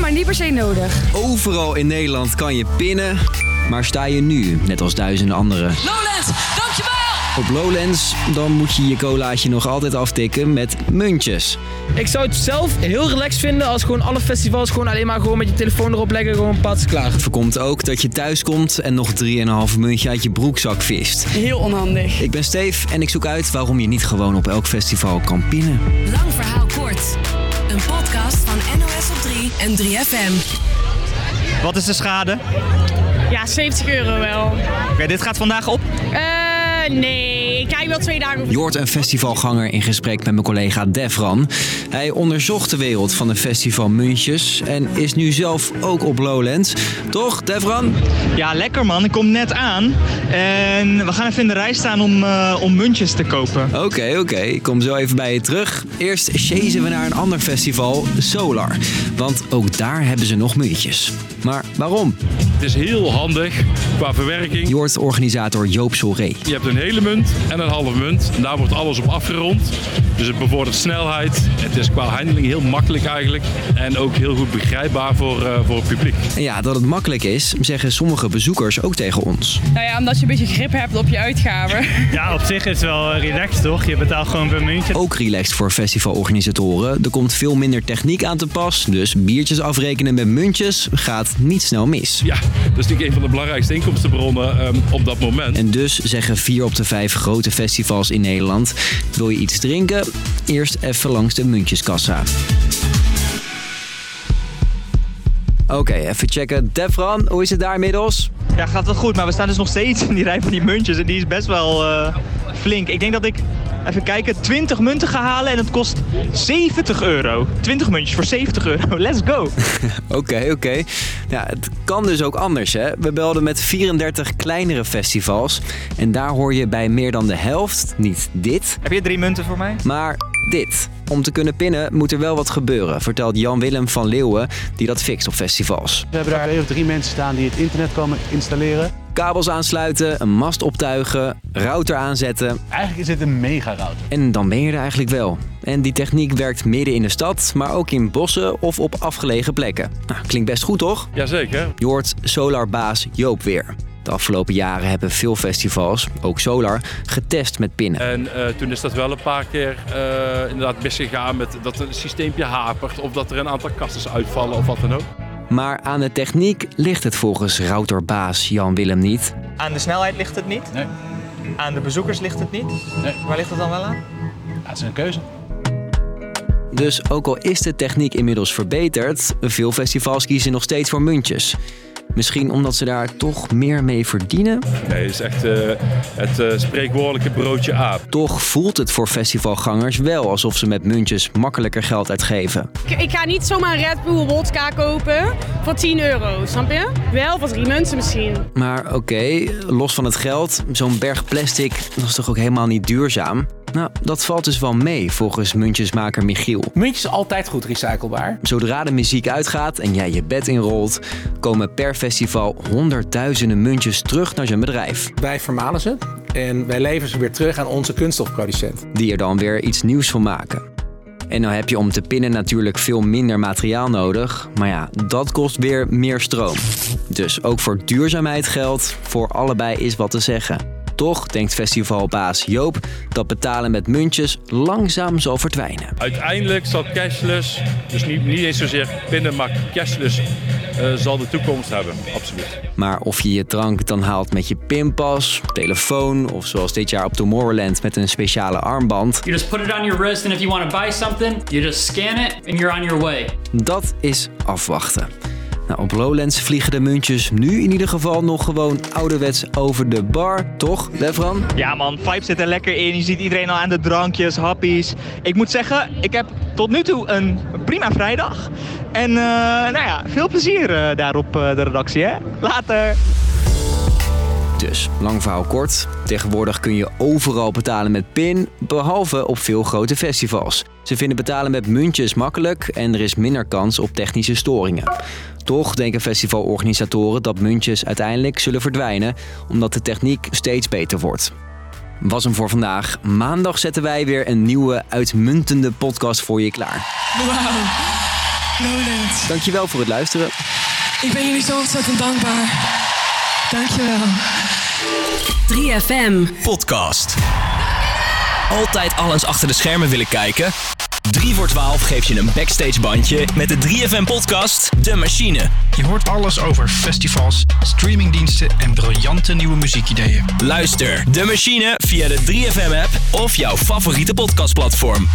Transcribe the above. maar niet per se nodig. Overal in Nederland kan je pinnen, maar sta je nu, net als duizenden anderen, Lowlands, dankjewel! op Lowlands, dan moet je je colaatje nog altijd aftikken met muntjes. Ik zou het zelf heel relaxed vinden als gewoon alle festivals gewoon alleen maar gewoon met je telefoon erop leggen, gewoon pats klaar. Het voorkomt ook dat je thuis komt en nog 3,5 muntje uit je broekzak vist. Heel onhandig. Ik ben Steve en ik zoek uit waarom je niet gewoon op elk festival kan pinnen. Lang verhaal kort. Een podcast van NOS op 3 en 3FM. Wat is de schade? Ja, 70 euro wel. Oké, dit gaat vandaag op. Eh, nee, ik kijk wel twee dagen over. Je hoort een festivalganger in gesprek met mijn collega Devran. Hij onderzocht de wereld van de festival Muntjes en is nu zelf ook op Lowlands. Toch, Devran? Ja, lekker man. Ik kom net aan. En we gaan even in de rij staan om, eh, om muntjes te kopen. Oké, oké. Ik kom zo even bij je terug. Eerst chasen we naar een ander festival, Solar. Want ook daar hebben ze nog muntjes. Maar waarom? Het is heel handig qua verwerking. Je hoort organisator Joop Soré. Je hebt een hele munt en een halve munt. En daar wordt alles op afgerond. Dus het bevordert snelheid. Het is qua handeling heel makkelijk eigenlijk. En ook heel goed begrijpbaar voor, eh, voor het publiek. En ja, dat het makkelijk is, zeggen sommige bezoekers ook tegen ons. Nou ja, omdat je een beetje grip hebt op je uitgaven. Ja, op zich is het wel eh, relaxed, toch? Je betaalt gewoon per muntje. Ook relaxed voor festivalorganisatoren. Er komt veel minder techniek aan te pas. Dus biertjes afrekenen met muntjes gaat niet snel mis. Ja, dat is natuurlijk een van de belangrijkste inkomstenbronnen ehm, op dat moment. En dus zeggen vier op de vijf grote festivals in Nederland: wil je iets drinken? Eerst even langs de muntjeskassa. Oké, even checken. Devran, hoe is het daar inmiddels? Ja, gaat wel goed. Maar we staan dus nog steeds in die rij van die muntjes. En die is best wel eh, flink. Ik denk dat ik, even kijken, 20 munten ga halen. En het kost 70 euro. 20 muntjes voor 70 euro. Let's go. Oké, oké. Ja, het kan dus ook anders, hè? We belden met 34 kleinere festivals. En daar hoor je bij meer dan de helft niet dit, Heb je drie munten voor mij? maar dit. Om te kunnen pinnen moet er wel wat gebeuren, vertelt Jan-Willem van Leeuwen, die dat fixt op festivals. We hebben daar twee of drie mensen staan die het internet komen installeren. kabels aansluiten, een mast optuigen, router aanzetten Eigenlijk is dit een mega router. en dan ben je er eigenlijk wel. En die techniek werkt midden in de stad, maar ook in bossen of op afgelegen plekken. Nou, klinkt best goed toch? Jazeker. Je hoort solarbaas Joop weer. De afgelopen jaren hebben veel festivals, ook solar, getest met pinnen. En eh, toen is dat wel een paar keer eh, inderdaad misgegaan met dat een systeempje hapert. Of dat er een aantal kasters uitvallen of wat dan ook. Maar aan de techniek ligt het volgens routerbaas Jan Willem niet. Aan de snelheid ligt het niet. Nee. Aan de bezoekers ligt het niet. Nee. Waar ligt het dan wel aan? dat is een keuze. Dus ook al is de techniek inmiddels verbeterd, veel festivals kiezen nog steeds voor muntjes. Misschien omdat ze daar toch meer mee verdienen? Nee, het is echt eh, het eh, spreekwoordelijke broodje aap. Toch voelt het voor festivalgangers wel alsof ze met muntjes makkelijker geld uitgeven. Ik, ik ga niet zomaar een Red Bull wodka kopen voor 10 euro, snap je? Wel voor drie mensen misschien. Maar oké, los van het geld, zo'n berg plastic dat is toch ook helemaal niet duurzaam? Nou, dat valt dus wel mee volgens muntjesmaker Michiel. Muntjes altijd goed recyclebaar. Zodra de muziek uitgaat en jij je bed inrolt, komen per festival honderdduizenden muntjes terug naar zijn bedrijf. Wij vermalen ze en wij leveren ze weer terug aan onze kunststofproducent. die er dan weer iets nieuws van maken. En dan heb je om te pinnen natuurlijk veel minder materiaal nodig, maar ja, dat kost weer meer stroom. Dus ook voor duurzaamheid geldt, voor allebei is wat te zeggen. Toch denkt festivalbaas Joop dat betalen met muntjes langzaam zal verdwijnen. Uiteindelijk zal cashless, dus niet, niet eens zozeer pinnen, maar cashless eh, zal de toekomst hebben. Absoluut. Maar of je je drank dan haalt met je pinpas, telefoon of zoals dit jaar op Tomorrowland met een speciale armband, You just put it on your wrist, and if you want to buy something, you just scan it and you're on your way. Dat is afwachten. Nou, op Lowlands vliegen de muntjes nu in ieder geval nog gewoon ouderwets over de bar, toch, Levran? Ja man, vibe zit er lekker in. Je ziet iedereen al aan de drankjes, happies. Ik moet zeggen, ik heb tot nu toe een prima vrijdag. En eh, nou ja, veel plezier eh, daar op eh, de redactie hè. Later! Dus, lang verhaal kort. Tegenwoordig kun je overal betalen met PIN, behalve op veel grote festivals. Ze vinden betalen met muntjes makkelijk en er is minder kans op technische storingen. Toch denken festivalorganisatoren dat muntjes uiteindelijk zullen verdwijnen, omdat de techniek steeds beter wordt. Was hem voor vandaag. Maandag zetten wij weer een nieuwe uitmuntende podcast voor je klaar. Wow. Lowlands. Dankjewel voor het luisteren. Ik ben jullie zo ontzettend dankbaar. Dankjewel. 3FM Podcast. Altijd alles achter de schermen willen kijken? 3 voor 12 geeft je een backstage bandje met de 3FM podcast De Machine. Je hoort alles over festivals, streamingdiensten en briljante nieuwe muziekideeën. Luister De Machine via de 3FM app of jouw favoriete podcastplatform.